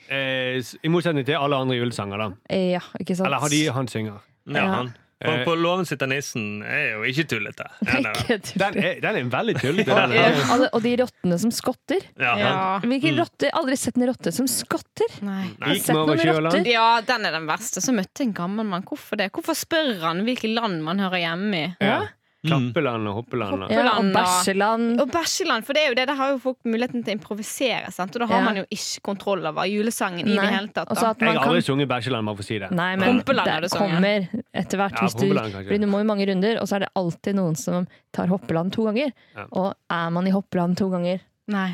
Speaker 4: Eh, s- I motsetning til alle andre julesanger, da.
Speaker 6: eh, ja, ikke sant.
Speaker 4: Eller har de han synger.
Speaker 5: Ja, han.
Speaker 4: Eh.
Speaker 5: For på låven sitter nissen er jo ikke
Speaker 2: <laughs>
Speaker 5: tullete. Ja, nei, nei.
Speaker 6: <laughs> Ikke tull.
Speaker 4: Den er, den er veldig tullete. den.
Speaker 6: Ja, alle- og de rottene som skotter.
Speaker 5: Ja, han.
Speaker 2: Ja.
Speaker 6: Hvilke
Speaker 4: Mm.
Speaker 6: rotter? Aldri sett en rotte som skotter.
Speaker 2: Nei.
Speaker 6: Har du
Speaker 4: Gikk
Speaker 6: sett
Speaker 4: vi over
Speaker 6: noen
Speaker 4: kjøla?
Speaker 6: rotter?
Speaker 2: Ja, den er den verste. Så møtte jeg en gammel mann. Hvorfor det? Hvorfor spør han hvilke land man hører hjemme i?
Speaker 4: Ja.
Speaker 5: Mm.
Speaker 4: Klappeland og hoppeland. og-
Speaker 6: Ja, og
Speaker 2: Hoppeland, da.
Speaker 6: bæsjeland.
Speaker 2: Og bæsjeland, for det er jo det, der har jo folk muligheten til å improvisere. Sant? Og da har
Speaker 6: Ja.
Speaker 2: man jo ikke kontroll over julesangen i
Speaker 6: Nei.
Speaker 2: det hele tatt.
Speaker 6: Og så
Speaker 2: Da.
Speaker 6: at
Speaker 4: Jeg
Speaker 6: man
Speaker 4: har aldri
Speaker 6: kan
Speaker 4: sunget Bæsjeland, bare for å si det.
Speaker 6: Nei, men
Speaker 2: Humpeland er
Speaker 6: det
Speaker 2: det sånn, ja.
Speaker 6: kommer etter hvert.
Speaker 4: Ja,
Speaker 6: Hvis du,
Speaker 4: Humpeland, kanskje.
Speaker 6: fordi du må jo mange runder, og så er det alltid noen som tar Hoppeland to ganger.
Speaker 4: Ja.
Speaker 6: Og er man i Hoppeland to ganger
Speaker 2: Nei.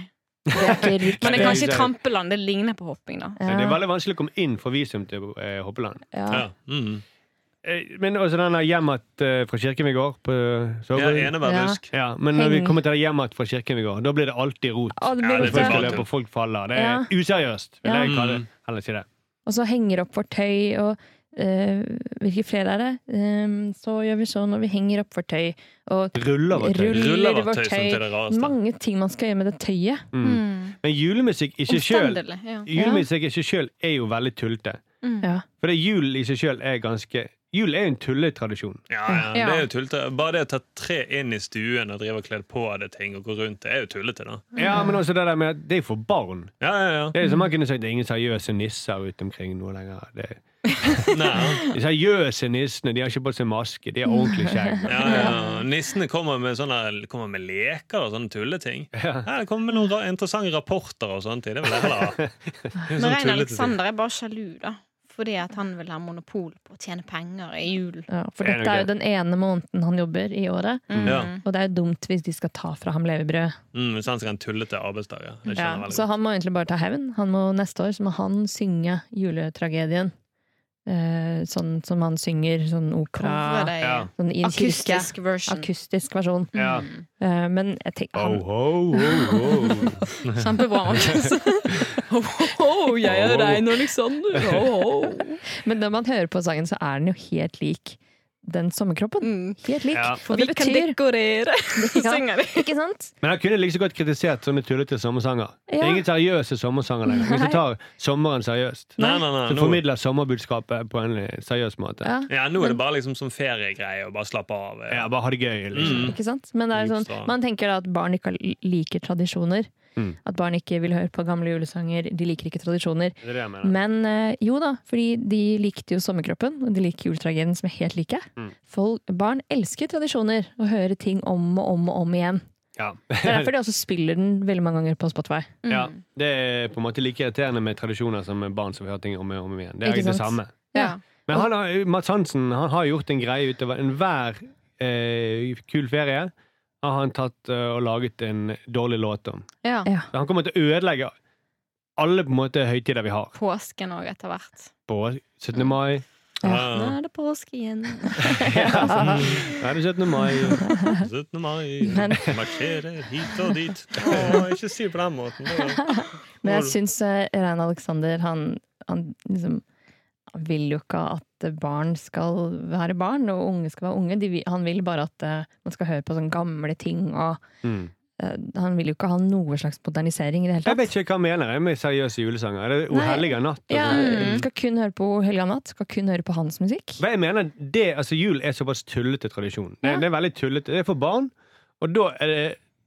Speaker 6: Det er
Speaker 4: <laughs>
Speaker 6: ikke
Speaker 2: Men det
Speaker 6: riktig.
Speaker 2: er
Speaker 4: Nei.
Speaker 2: kanskje trampeland. Det ligner på hopping, da.
Speaker 4: Men Det er
Speaker 6: Ja,
Speaker 4: veldig vanskelig å komme inn for visum til eh, Hoppeland.
Speaker 6: ja.
Speaker 5: Ja. Mm.
Speaker 4: Eh, Men også den der hjem att eh, fra kirken vi går på
Speaker 5: Ja,
Speaker 4: Soverud.
Speaker 5: eneverdbusk.
Speaker 4: Ja, men når vi
Speaker 6: Heng.
Speaker 4: kommer til det hjem att fra kirken vi går, da blir det alltid rot.
Speaker 6: Å, det
Speaker 5: Ja,
Speaker 6: blir
Speaker 5: det blir
Speaker 4: Folk skal
Speaker 5: bra.
Speaker 6: rotete.
Speaker 4: løpe, og folk faller. Det er useriøst, vil
Speaker 6: Ja.
Speaker 4: jeg kalle det.
Speaker 5: Mm.
Speaker 4: Heller si det.
Speaker 6: Og så henger opp vårt tøy, og eh, hvilke flere er det? Eh, så gjør vi sånn, og vi henger opp vårt tøy, og
Speaker 4: Ruller og tøy.
Speaker 6: ruller
Speaker 5: Ruller av
Speaker 6: vårt
Speaker 5: tøy som
Speaker 6: tøy.
Speaker 5: til det rareste.
Speaker 6: Mange ting man skal gjøre med det tøyet.
Speaker 4: Mm. Men julemusikk i seg sjøl
Speaker 2: Omstendelig. Ja.
Speaker 4: Julemusikk i seg sjøl er jo veldig tullete.
Speaker 6: Ja.
Speaker 4: For det jul i seg sjøl er ganske Jul er jo en tulletradisjon.
Speaker 5: Ja, ja, det er jo tullete. Bare det å ta tre inn i stuen og drive og kle på av det ting og gå rundt, det er jo tullete, da.
Speaker 4: Ja, men også det der med at det er for barn.
Speaker 5: Ja, ja, ja.
Speaker 4: Det er som man kunne sagt, det er ingen seriøse nisser ute omkring nå lenger. Det,
Speaker 5: <laughs> Nei.
Speaker 4: de seriøse nissene de har ikke på seg maske, de har ordentlig skjegg.
Speaker 5: <laughs> Ja, ja,
Speaker 4: <laughs>
Speaker 5: ja. Nissene kommer med, sånne, kommer med leker og sånne tulleting. Ja, det kommer med noen ra interessante rapporter og sånne ting. Det vil jeg
Speaker 4: <laughs>
Speaker 5: heller ha.
Speaker 2: Men
Speaker 5: sånn
Speaker 2: Rein sånn Alexander er bare sjalu, da. Fordi at han vil ha monopol på å tjene penger i julen.
Speaker 6: Ja, for
Speaker 4: Det er
Speaker 6: dette er
Speaker 4: nok
Speaker 6: jo den ene måneden han jobber i året.
Speaker 5: Ja.
Speaker 6: Og det er jo dumt hvis de skal ta fra ham levebrød.
Speaker 5: Mm, hvis han skal ha en tullete arbeidsdag, ja. Det skjønner jeg
Speaker 6: Ja,
Speaker 5: veldig
Speaker 6: så han må egentlig bare ta hevn. Han må, neste år så må han synge juletragedien. Eh, sånn som han synger sånn
Speaker 2: Covre
Speaker 6: opera
Speaker 2: det i
Speaker 4: Ja.
Speaker 6: sånn i en kirke.
Speaker 2: akustisk version.
Speaker 6: Akustisk versjon.
Speaker 4: Ja. Oh.
Speaker 6: Eh, men jeg tenker
Speaker 4: Ho,
Speaker 6: han
Speaker 4: ho, ho, ho.
Speaker 2: Kjempebra,
Speaker 6: <laughs>
Speaker 2: Markus. Ho, ho, altså. jeg er Rein Alexander. Ho, ho.
Speaker 6: Men når man hører på sangen, så er den jo helt lik den sommerkroppen.
Speaker 2: Mm.
Speaker 6: Helt lik.
Speaker 4: Ja.
Speaker 6: Og
Speaker 2: Vi
Speaker 6: det
Speaker 2: kan
Speaker 6: betyr <laughs>
Speaker 2: dekorere, synger de.
Speaker 6: Ikke sant?
Speaker 4: Men han kunne like så godt kritisert sånne tullete sommersanger. Det
Speaker 6: Ja.
Speaker 4: er ingen seriøse sommersanger lenger. Hvis du tar sommeren seriøst,
Speaker 5: Nei, nei, nei,
Speaker 4: så
Speaker 5: nå,
Speaker 4: formidler sommerbudskapet på en eh, seriøs måte.
Speaker 6: Ja.
Speaker 5: ja, nå er det bare liksom som feriegreie og bare slappe av.
Speaker 4: Ja, bare ha det gøy. Liksom.
Speaker 6: Ikke sant? Men det er sånn,
Speaker 5: Djupstad.
Speaker 6: man tenker da at barn ikke liker tradisjoner.
Speaker 4: Mm.
Speaker 6: At barn ikke vil høre på gamle julesanger. De liker ikke tradisjoner.
Speaker 4: Det er det jeg mener.
Speaker 6: Men eh, jo da, fordi de likte jo Sommerkroppen, og de liker juletragedien som er helt like.
Speaker 4: Mm.
Speaker 6: Folk, barn elsker tradisjoner og hører ting om og om og om igjen.
Speaker 4: Ja.
Speaker 6: Det er derfor de også spiller den veldig mange ganger på Spotify.
Speaker 4: ja. Det er på en måte like irriterende med tradisjoner som med barn som vi har ting om og om igjen. Det
Speaker 6: Ikke
Speaker 4: er det
Speaker 6: sant?
Speaker 4: samme.
Speaker 2: Ja.
Speaker 4: Men han har, Mats Hansen han har gjort en greie ut av enhver eh, kul ferie. Har han tatt eh, og laget en dårlig låt om.
Speaker 2: Ja.
Speaker 6: Ja.
Speaker 4: Så han kommer til å ødelegge alle på en måte høytider vi har.
Speaker 2: Påsken òg, etter hvert.
Speaker 4: På 17.
Speaker 6: <laughs>
Speaker 4: mai.
Speaker 5: Ja.
Speaker 2: Nå er det påske igjen.
Speaker 4: Nå er det 17. mai.
Speaker 5: <laughs> 17. mai,
Speaker 6: Men-
Speaker 5: marsjerer hit og dit. Å, ikke si det på den måten. Det
Speaker 6: <laughs> Men jeg syns uh, Rein Alexander, han, han liksom han vil jo ikke at barn skal være barn, og unge skal være unge. De, vil- han vil bare at eh, man skal høre på sånne gamle ting, og
Speaker 4: Mm.
Speaker 6: eh, han vil jo ikke ha noe slags modernisering i det hele
Speaker 4: Jeg
Speaker 6: tatt.
Speaker 4: vet ikke hva han mener jeg med seriøse julesanger. Er det O
Speaker 6: Nei.
Speaker 4: helliga natt? Altså, og
Speaker 6: Ja,
Speaker 4: sånt?
Speaker 6: skal kun høre på Helga Natt, skal kun høre på hans musikk.
Speaker 4: Men jeg mener det, altså Jul er såpass tullete tradisjon. Det,
Speaker 6: Ja.
Speaker 4: det er veldig tullete. Det er for barn. Og da er det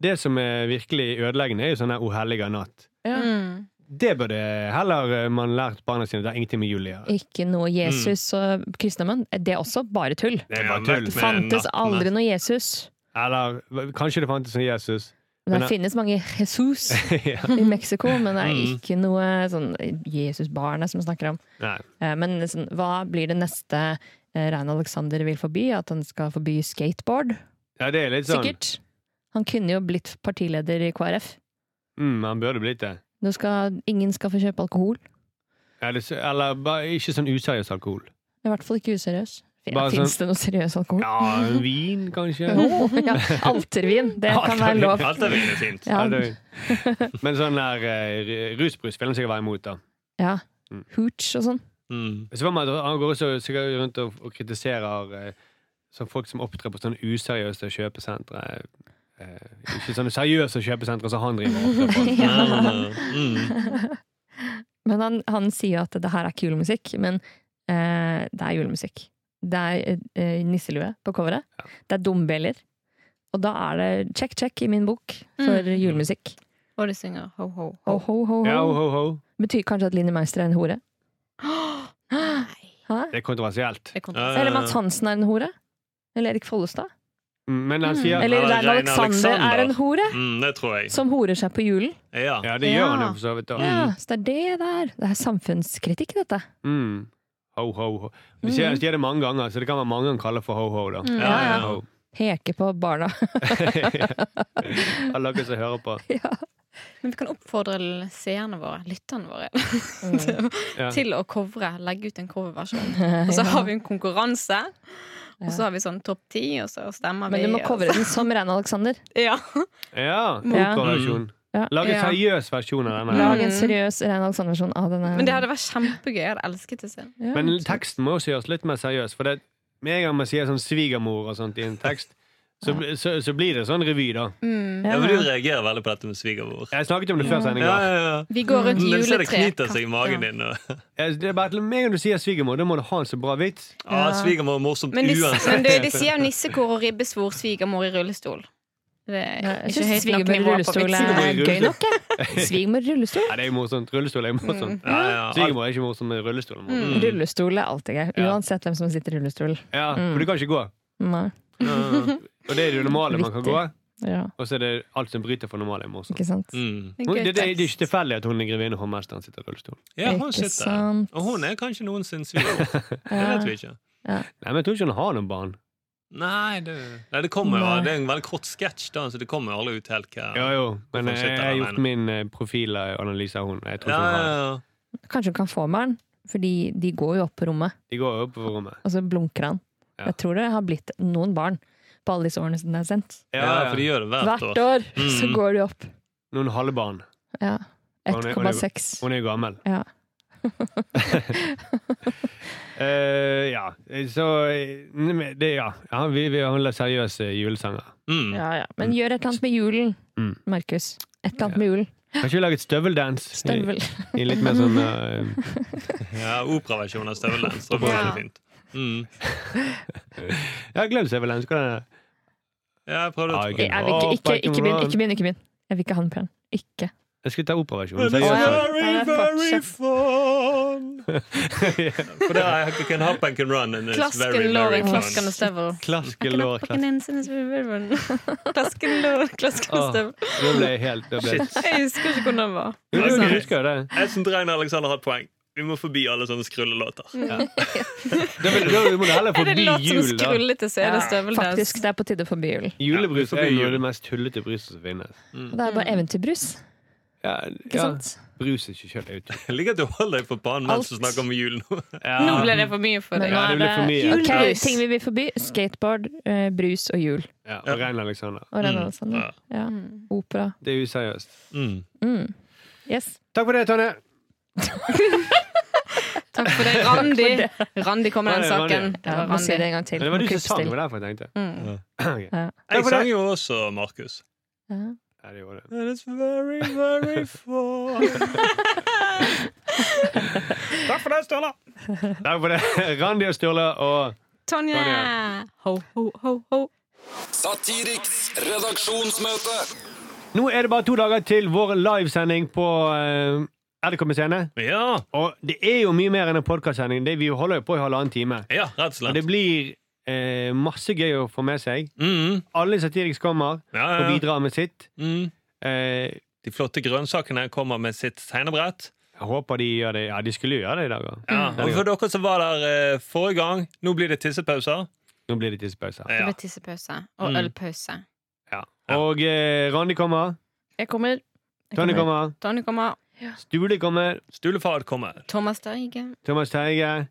Speaker 4: det som er virkelig ødeleggende, er jo sånn der O helliga natt.
Speaker 6: Ja.
Speaker 2: Mm.
Speaker 4: Det burde heller eh, man lært barna sine. Det har ingenting med jul å gjøre.
Speaker 6: Ikke noe Jesus og kristendommen. Det er også bare tull.
Speaker 4: Det er
Speaker 5: Ja,
Speaker 4: bare tull.
Speaker 5: men-
Speaker 6: Det fantes
Speaker 5: nattene.
Speaker 6: aldri noe Jesus.
Speaker 4: Eller hva- kanskje det fantes en Jesus. <laughs>
Speaker 6: Men
Speaker 4: Men-
Speaker 6: det finnes mange Jesus
Speaker 4: ja.
Speaker 6: i Mexico, men det er
Speaker 5: Mm.
Speaker 6: ikke noe sånn Jesusbarnet som vi snakker om.
Speaker 4: Nei.
Speaker 6: Eh, Men sånn, hva blir det neste eh, Rein Alexander vil forby? At han skal forby skateboard?
Speaker 4: Ja, det er litt sånn.
Speaker 6: Sikkert. Han kunne jo blitt partileder i KrF.
Speaker 4: Mm, han burde blitt det.
Speaker 6: Nå skal, ingen skal få kjøpe alkohol.
Speaker 4: Eller, s- eller bare ikke sånn useriøs alkohol.
Speaker 6: I hvert fall ikke useriøs.
Speaker 4: Bare sånn-
Speaker 6: Fins det noe seriøs alkohol?
Speaker 4: Ja, vin, kanskje.
Speaker 6: Jo, <laughs> ja. Altervin, det kan være lov.
Speaker 5: Alt er veldig fint.
Speaker 4: Ja,
Speaker 6: Ja.
Speaker 4: det-
Speaker 6: <laughs>
Speaker 4: Men sånn der eh, rusbrus vil han sikkert være imot, da.
Speaker 6: Ja. Hooch og sånn. <laughs>
Speaker 5: Mm.
Speaker 4: Så får man, han går også sikkert rundt og, og kritiserer eh, sånn folk som opptrer på sånne useriøse kjøpesentre. Eh, ikke sånne seriøse kjøpesentre som han driver og opptrer
Speaker 5: <laughs>
Speaker 4: på.
Speaker 5: Nei, nei, nei. Mm.
Speaker 6: Men han, han sier at det her er ikke julemusikk, men eh, det er julemusikk. Det er eh, nisselue på coveret. Det er dombjeller. Og da er det check, check i min bok for
Speaker 2: Mm.
Speaker 6: julemusikk.
Speaker 2: Og de synger ho, ho, ho.
Speaker 6: Ho, ho, ho, ho.
Speaker 4: Ja, ho, ho, ho.
Speaker 6: Betyr kanskje at Line Meister er en hore?
Speaker 2: <gasps> Nei,
Speaker 6: Hæ?
Speaker 4: Det er kontroversielt.
Speaker 2: det kom
Speaker 5: Ja, ja, ja.
Speaker 6: Eller Mads Hansen er en hore? Eller Erik Follestad?
Speaker 4: Mm, Men han
Speaker 2: Mm.
Speaker 4: sier
Speaker 6: Eller
Speaker 5: Eller
Speaker 6: Rein
Speaker 5: Rein
Speaker 6: Alexander,
Speaker 5: Alexander.
Speaker 6: er en hore?
Speaker 5: Mm, det tror jeg.
Speaker 6: Som horer seg på julen?
Speaker 5: Ja.
Speaker 4: Ja, det
Speaker 2: Ja.
Speaker 4: gjør han jo for så vidt. da.
Speaker 6: Ja, så det er det der. Det er samfunnskritikk, dette.
Speaker 4: Mm. Ho, ho, ho. De sier, de sier det mange ganger, så det kan være mange han kaller for ho-ho. da.
Speaker 6: Mm.
Speaker 5: Ja, ja.
Speaker 4: Ho. <laughs>
Speaker 6: Peke på barna.
Speaker 4: Alle dere som hører på.
Speaker 6: ja.
Speaker 2: Men vi kan oppfordre seerne våre, lytterne våre,
Speaker 6: Mm.
Speaker 2: <laughs>
Speaker 4: Ja.
Speaker 2: til å covre. Legge ut en
Speaker 6: <laughs>
Speaker 2: coverversjon. Og så har vi en konkurranse, og så har vi sånn topp ti, og så stemmer
Speaker 6: Men
Speaker 2: vi.
Speaker 6: du må
Speaker 2: og
Speaker 6: covre den som Rein Alexander.
Speaker 2: så- Ja.
Speaker 4: Ja,
Speaker 6: Ja.
Speaker 4: Operaversjon.
Speaker 6: Ja.
Speaker 4: Lag en
Speaker 2: Ja.
Speaker 4: seriøs versjon av denne.
Speaker 6: Lag en seriøs Rein Alexander-versjon av denne.
Speaker 2: Men det hadde vært kjempegøy. Jeg hadde elsket det selv.
Speaker 6: Ja.
Speaker 4: Men teksten må også gjøres litt mer seriøs. For det, med en gang man sier sånn svigermor og sånt i en tekst, så, bl- så, så blir det sånn revy, da.
Speaker 2: Mm.
Speaker 5: Ja, for du reagerer veldig på dette med svigermor.
Speaker 4: Jeg snakket om det før
Speaker 5: Ja,
Speaker 4: sendingen.
Speaker 5: ja, ja. Mm.
Speaker 2: Vi går rundt
Speaker 5: Men så det
Speaker 2: juletre.
Speaker 5: knyter seg i magen
Speaker 2: Ja.
Speaker 5: din. Og,
Speaker 4: Jeg- Det er bare, at med en gang du sier svigermor, da må du ha en så bra vits.
Speaker 5: ah, svigermor er morsomt
Speaker 2: Men de, men
Speaker 5: uansett.
Speaker 2: du, de sier jo nissekor og ribbesvor, svigermor i rullestol. Det er
Speaker 6: Jeg
Speaker 2: ikke
Speaker 6: syns
Speaker 2: høyt nok
Speaker 6: svigermor i
Speaker 2: nivå på
Speaker 6: rullestol
Speaker 2: vitsen.
Speaker 4: Svigermor
Speaker 6: er
Speaker 4: i
Speaker 6: gøy
Speaker 4: rullestol.
Speaker 6: nok, jeg. Svigermor i rullestol?
Speaker 4: Nei, det er jo morsomt. Rullestol er jo morsomt.
Speaker 5: Ja, ja, ja.
Speaker 4: Svigermor er ikke morsomt, men rullestol er morsomt.
Speaker 5: Mm.
Speaker 6: Rullestol er alltid gøy.
Speaker 4: Ja.
Speaker 6: Uansett hvem som sitter i rullestol.
Speaker 4: Ja, for du kan ikke gå.
Speaker 6: Nei.
Speaker 4: Og det er det normale man kan gå,
Speaker 6: Ja,
Speaker 4: og så er det alt som bryter for normalen, er morsomt.
Speaker 6: ikke sant?
Speaker 5: Mm.
Speaker 2: En
Speaker 4: Hun-
Speaker 2: gøy
Speaker 4: Det, det, det er
Speaker 2: tekst.
Speaker 4: ikke tilfeldig at hun er grevinne og hovmesteren sitter i rullestol.
Speaker 5: Ja,
Speaker 6: Ikke
Speaker 5: hun sitter der.
Speaker 6: sant.
Speaker 5: Og hun er kanskje noen sin <laughs> svigermor. Det vet vi ikke.
Speaker 4: Nei, men jeg tror ikke hun har noen barn.
Speaker 5: Nei, det, nei, det kommer jo
Speaker 6: Nei.
Speaker 5: Det er en veldig kort sketsj, da, så det kommer jo aldri ut helt hva
Speaker 4: Jo, jo, men
Speaker 5: Hvorfor
Speaker 4: jeg,
Speaker 5: sitter
Speaker 4: jeg har
Speaker 5: han
Speaker 4: gjort
Speaker 5: alene?
Speaker 4: min eh, profilanalyse av henne. Jeg tror
Speaker 5: Ja,
Speaker 4: ikke hun har
Speaker 5: ja,
Speaker 4: det.
Speaker 5: ja.
Speaker 6: Kanskje hun kan få med den, fordi de går jo opp på rommet,
Speaker 4: De går jo opp på rommet.
Speaker 6: og så blunker han.
Speaker 4: Ja.
Speaker 6: Jeg tror det har blitt noen barn på alle disse årene som det er sendt.
Speaker 5: ja, for de gjør det hvert år.
Speaker 6: Hvert år
Speaker 5: Mm.
Speaker 6: så går de opp.
Speaker 4: Noen halvbarn.
Speaker 6: Ja.
Speaker 4: Og hun er- hun er-
Speaker 6: 1,6.
Speaker 4: Hun er jo gammel.
Speaker 6: Ja.
Speaker 4: <laughs> Eh, ja, så eh, men det, Ja, ja vi, vi har seriøse julesanger.
Speaker 5: Mm.
Speaker 6: Ja, ja. Men gjør et eller annet med julen,
Speaker 4: Mm.
Speaker 6: Markus. Et eller annet med julen.
Speaker 4: Kanskje vi lager et støveldans? i-
Speaker 6: Støvel.
Speaker 4: I litt mer
Speaker 6: <laughs>
Speaker 4: sånn eh,
Speaker 5: Ja, Operaversjon av støvelen. Så det blir
Speaker 2: Ja.
Speaker 5: veldig fint. Mm.
Speaker 4: Ja, glem støveldans. Hva er det?
Speaker 5: Ja, jeg prøvde
Speaker 4: Ah,
Speaker 5: å
Speaker 4: ok.
Speaker 5: tro.
Speaker 6: Jeg vil ikke, ikke, ikke begynn, ikke begynn, ikke begynn. Jeg vil ikke ha den planen. Ikke.
Speaker 4: Jeg skulle ta operaversjonen.
Speaker 5: Men det
Speaker 4: seriøst.
Speaker 5: er
Speaker 4: altså.
Speaker 5: very,
Speaker 6: Ja,
Speaker 5: very
Speaker 6: fortsett.
Speaker 5: fun! <laughs> For det er you can hop and can run and it's very,
Speaker 2: Klasken lår i
Speaker 5: very
Speaker 2: klaskende
Speaker 5: fun.
Speaker 2: støvel.
Speaker 4: Klasken lår, klasken
Speaker 2: <laughs> Klasken lår i klaskende
Speaker 4: Åh,
Speaker 2: støvel.
Speaker 4: Nå ble jeg helt da ble...
Speaker 5: Shit.
Speaker 2: Jeg husker ikke hvordan det var.
Speaker 4: Jo,
Speaker 5: Ok.
Speaker 4: du husker jo det.
Speaker 5: Jeg syns Rein Alexander har et poeng. Vi må forbi alle sånne skrullelåter.
Speaker 2: Mm.
Speaker 4: Da vil- da må du heller
Speaker 2: Er det
Speaker 4: forbi
Speaker 2: en låt som
Speaker 4: jul, da.
Speaker 2: skrullete, så er det
Speaker 6: Faktisk,
Speaker 2: støveldans.
Speaker 6: det er på tide å forby julen.
Speaker 4: Julebrus
Speaker 5: Ja,
Speaker 4: er
Speaker 5: forbi
Speaker 4: jo
Speaker 5: jul.
Speaker 4: det mest tullete bruset som finnes.
Speaker 6: Og Mm. det er bare eventyrbrus.
Speaker 4: Ja,
Speaker 6: Ikke
Speaker 4: ja.
Speaker 6: sant?
Speaker 4: Brus er ikke selv ut.
Speaker 5: Jeg liker at du holder deg på banen mens du
Speaker 6: Alt.
Speaker 5: snakker om <laughs> jul nå.
Speaker 2: Nå ble det for mye for
Speaker 6: Men
Speaker 2: deg.
Speaker 6: nå
Speaker 4: Ja, det
Speaker 6: er
Speaker 4: blir for
Speaker 6: det
Speaker 4: mye.
Speaker 6: Ok,
Speaker 2: Julebrus.
Speaker 6: ting vi vil forby. Skateboard, eh, brus og jul.
Speaker 4: Ja, og Rein Alexander.
Speaker 6: Og Rein
Speaker 5: Mm.
Speaker 6: Alexander. Ja. Opera.
Speaker 4: Det er useriøst.
Speaker 5: Mm.
Speaker 6: Mm. Yes.
Speaker 4: Takk for det, Tonje.
Speaker 2: Takk for det, Randi. Randi kom med den
Speaker 4: Ja, det er
Speaker 2: saken. Det
Speaker 6: Ja,
Speaker 2: var
Speaker 6: må si det
Speaker 2: Randi.
Speaker 6: en gang til.
Speaker 4: Men det var
Speaker 6: Må
Speaker 4: du som
Speaker 6: klippes
Speaker 4: sang,
Speaker 6: til.
Speaker 4: det var derfor jeg tenkte.
Speaker 2: Mm.
Speaker 4: <clears throat> Ok.
Speaker 6: Ja.
Speaker 4: for
Speaker 5: Jeg
Speaker 4: det.
Speaker 5: sang jo også, Markus.
Speaker 6: Ja.
Speaker 4: Ja, det gjorde det.
Speaker 5: And it's very, <laughs> very fun.
Speaker 4: Takk for det, Sturla. Takk for det, <laughs> Randi og Sturla. Og
Speaker 2: Tonje! Ho, ho, ho, ho.
Speaker 3: Satiriks redaksjonsmøte.
Speaker 4: nå er det bare to dager til vår livesending på uh, RDKM Scene.
Speaker 5: Ja,
Speaker 4: Og det er jo mye mer enn en podkastsending. Vi holder jo på i halvannen time.
Speaker 5: ja, rett og
Speaker 4: Og
Speaker 5: slett.
Speaker 4: det blir eh, masse gøy å få med seg.
Speaker 5: Mm.
Speaker 4: Alle satiriks kommer
Speaker 5: Ja,
Speaker 4: og
Speaker 5: ja, ja.
Speaker 4: bidrar med sitt.
Speaker 5: Mm.
Speaker 4: Eh,
Speaker 5: De flotte grønnsakene kommer med sitt tegnebrett.
Speaker 4: jeg håper de gjør det. Ja, de skulle jo gjøre det i dag. da.
Speaker 5: Ja. Og for dere som var der eh, forrige gang, nå blir det tissepauser.
Speaker 4: Nå blir det tissepause.
Speaker 2: Det
Speaker 5: Ja.
Speaker 2: ble tissepause og
Speaker 5: Mm.
Speaker 2: ølpause.
Speaker 4: Ja.
Speaker 5: Ja.
Speaker 4: Og eh, Randi kommer.
Speaker 6: Jeg kommer. Jeg
Speaker 4: Tony
Speaker 6: kommer.
Speaker 4: kommer.
Speaker 2: Tonje kommer.
Speaker 4: Stule kommer.
Speaker 5: Stulefar kommer.
Speaker 2: Thomas Steige.
Speaker 4: Thomas Teige.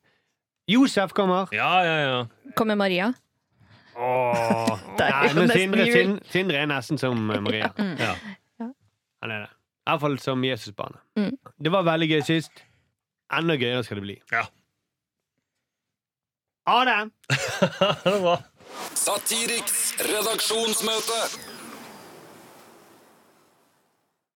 Speaker 4: Josef kommer.
Speaker 5: Ja, ja, ja.
Speaker 6: Kommer Maria? <laughs> Det er
Speaker 4: Nei,
Speaker 6: jo
Speaker 4: men
Speaker 6: nesten
Speaker 4: Sindre,
Speaker 6: jul.
Speaker 4: Sin- Sindre er nesten som eh, Maria.
Speaker 5: ja.
Speaker 4: Han er det. Iallfall som Jesusbarnet.
Speaker 6: Mm.
Speaker 4: Det var veldig gøy sist. Enda gøyere skal det bli.
Speaker 5: Ja.
Speaker 4: Ha det!
Speaker 5: Det var bra.
Speaker 3: Satiriks redaksjonsmøte.